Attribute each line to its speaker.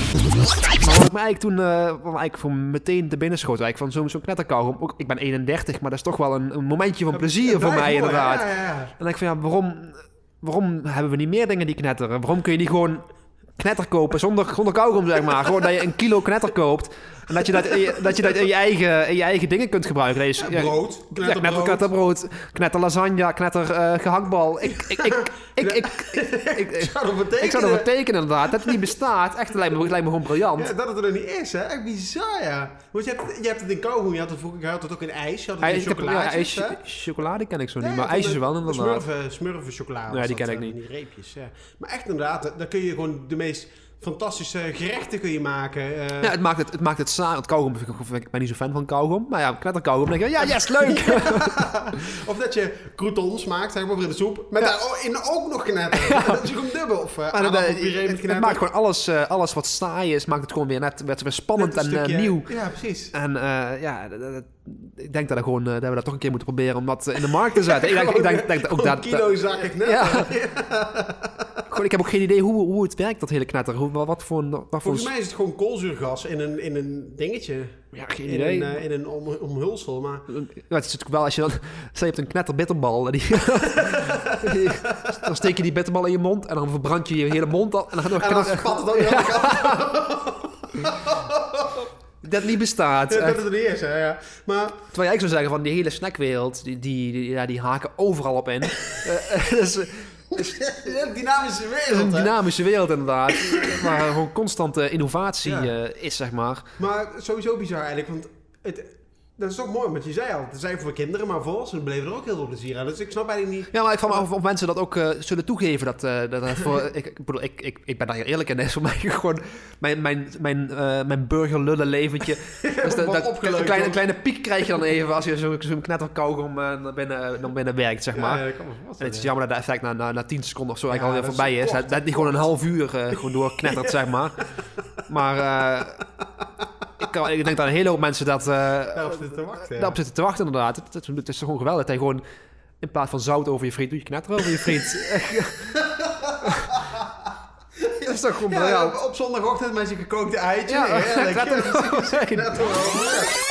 Speaker 1: Maar wat me eigenlijk toen eh, wat me eigenlijk voor meteen te binnen schoot, eigenlijk van zo'n zo'n knetterkauwgom. Ook, ik ben 31, maar dat is toch wel een, een momentje van plezier voor mij inderdaad.
Speaker 2: Ja, ja, ja.
Speaker 1: En dan denk ik van ja, waarom, waarom hebben we niet meer dingen die knetteren? Waarom kun je niet gewoon knetter kopen zonder, zonder kauwgom, zeg maar? Gewoon dat je een kilo knetter koopt en dat je dat, in je- dat, je, dat in, je eigen, in je eigen dingen kunt gebruiken. Dat je, ja,
Speaker 2: Brood,
Speaker 1: ja, knetter,
Speaker 2: knetterbrood.
Speaker 1: knetterbrood, knetter lasagne, knetter eh, gehaktbal. Ik, ik, ik, ik, ik, ik, ik,
Speaker 2: Zou dat betekenen?
Speaker 1: ik zou dat betekenen inderdaad. Dat het niet bestaat. Echt, dat lijkt me, lijkt me gewoon briljant.
Speaker 2: Ja, dat het er niet is, hè? Echt bizar, ja. Want je hebt, je hebt het in kauwgom, je had het vroeger, je had het ook in ijs, je had het
Speaker 1: Hij-
Speaker 2: in
Speaker 1: ik heb- ja,
Speaker 2: chocolaatjes,
Speaker 1: ijsje-
Speaker 2: hè?
Speaker 1: chocolade ken ik zo niet,
Speaker 2: Nee,
Speaker 1: maar
Speaker 2: van
Speaker 1: ijsjes
Speaker 2: de-
Speaker 1: wel inderdaad.
Speaker 2: Smurven, smurven chocolade.
Speaker 1: Ja,
Speaker 2: was
Speaker 1: die
Speaker 2: dat,
Speaker 1: ken ik
Speaker 2: eh,
Speaker 1: niet.
Speaker 2: Die reepjes, ja. Maar echt inderdaad, eh, daar kun je gewoon de meest fantastische gerechten kun je maken. eh.
Speaker 1: Ja, het maakt het, het, maakt het saai. Want kauwgom, vind ik, ik ben niet zo fan van kauwgom. Maar ja, knetterkauwgom, denk je, ja, yes, leuk.
Speaker 2: Of dat je croutons maakt, zeg maar, voor in de soep. Met daar o- in ook nog knetten. Dat is gewoon dubbel. Of uh,
Speaker 1: Maar dan, eh,
Speaker 2: aardappelpuree met
Speaker 1: het, het
Speaker 2: knetten.
Speaker 1: maakt gewoon alles, eh, alles wat saai is, maakt het gewoon weer net, werd weer spannend
Speaker 2: Net
Speaker 1: en
Speaker 2: een
Speaker 1: eh,
Speaker 2: stukje-
Speaker 1: nieuw.
Speaker 2: Ja, precies.
Speaker 1: En eh, ja, dat- dat- dat- ik denk dat, er gewoon, eh, dat we dat toch een keer moeten proberen om dat eh, in de markt te zetten. ik denk, ik denk, denk dat ook
Speaker 2: Gewoon
Speaker 1: dat... dat-
Speaker 2: kilo zakken knetten.
Speaker 1: ja. Gewoon, ik heb ook geen idee hoe, hoe het werkt, dat hele knetter. Hoe, wat, wat voor... een- Wat voor
Speaker 2: Volgens mij is het gewoon koolzuurgas in een, in een dingetje.
Speaker 1: Ja, geen
Speaker 2: In
Speaker 1: idee.
Speaker 2: een, eh, in een om- omhulsel. Maar
Speaker 1: Ja, het is natuurlijk wel als je dan... Stel je hebt een knetterbitterbal. En die, die- dan steek je die bitterbal in je mond. En dan verbrand je je hele mond al. En dan,
Speaker 2: en dan spat het ook weer aan de kant.
Speaker 1: dat niet bestaat.
Speaker 2: Dat
Speaker 1: Eh,
Speaker 2: het er niet is, hè, ja. Maar
Speaker 1: Terwijl je eigenlijk zou zeggen van die hele snackwereld, die, die, die- ja, die haken overal op in. Eh, eh, dat is, dat
Speaker 2: een dynamische
Speaker 1: is een
Speaker 2: wereld, hè.
Speaker 1: dynamische wereld inderdaad. Waar gewoon constante innovatie
Speaker 2: Ja.
Speaker 1: eh, is, zeg maar.
Speaker 2: Maar sowieso bizar eigenlijk, want het, dat is toch mooi, want je zei al, het zijn voor kinderen, maar volwassenen beleven er ook heel veel plezier aan. Dus ik snap eigenlijk niet...
Speaker 1: Ja, maar ik vraag me af of mensen dat ook eh, zullen toegeven. Dat, eh, dat, dat voor, ik, ik bedoel, ik, ik, ik ben daar heel eerlijk in. Dat is voor mij gewoon mijn, mijn, mijn, eh mijn burgerlullen leventje. Dus dat,
Speaker 2: Wat
Speaker 1: dat-
Speaker 2: opgeleukt
Speaker 1: een, kleine,
Speaker 2: wordt.
Speaker 1: kleine piek krijg je dan even als je zo'n zo knetterkauwgom eh, naar binnen, naar binnen werkt, zeg maar.
Speaker 2: Ja, ik kan me
Speaker 1: En
Speaker 2: voorstellen.
Speaker 1: het is jammer dat de effect na, na, na 10 seconden of zo
Speaker 2: Ja,
Speaker 1: eigenlijk
Speaker 2: dat
Speaker 1: alweer voorbij
Speaker 2: is zo
Speaker 1: is.
Speaker 2: kort,
Speaker 1: Dat, dat die gewoon een half uur eh, gewoon doorknettert, zeg maar. Maar eh, ik, kan, ik denk dat een hele hoop mensen dat, eh,
Speaker 2: Daarop zitten te wachten, ja.
Speaker 1: daarop zitten te wachten, inderdaad. Het, het, het is gewoon geweldig dat hij gewoon in plaats van zout over je friet doet, je knetter over je friet. dat is toch gewoon
Speaker 2: Ja,
Speaker 1: briljant.
Speaker 2: op, op zondagochtend met je gekookte eitje.
Speaker 1: Ja,
Speaker 2: heerlijk.
Speaker 1: dat gaat er
Speaker 2: Ja, precies.
Speaker 1: gewoon zijn.
Speaker 2: Dat er wel.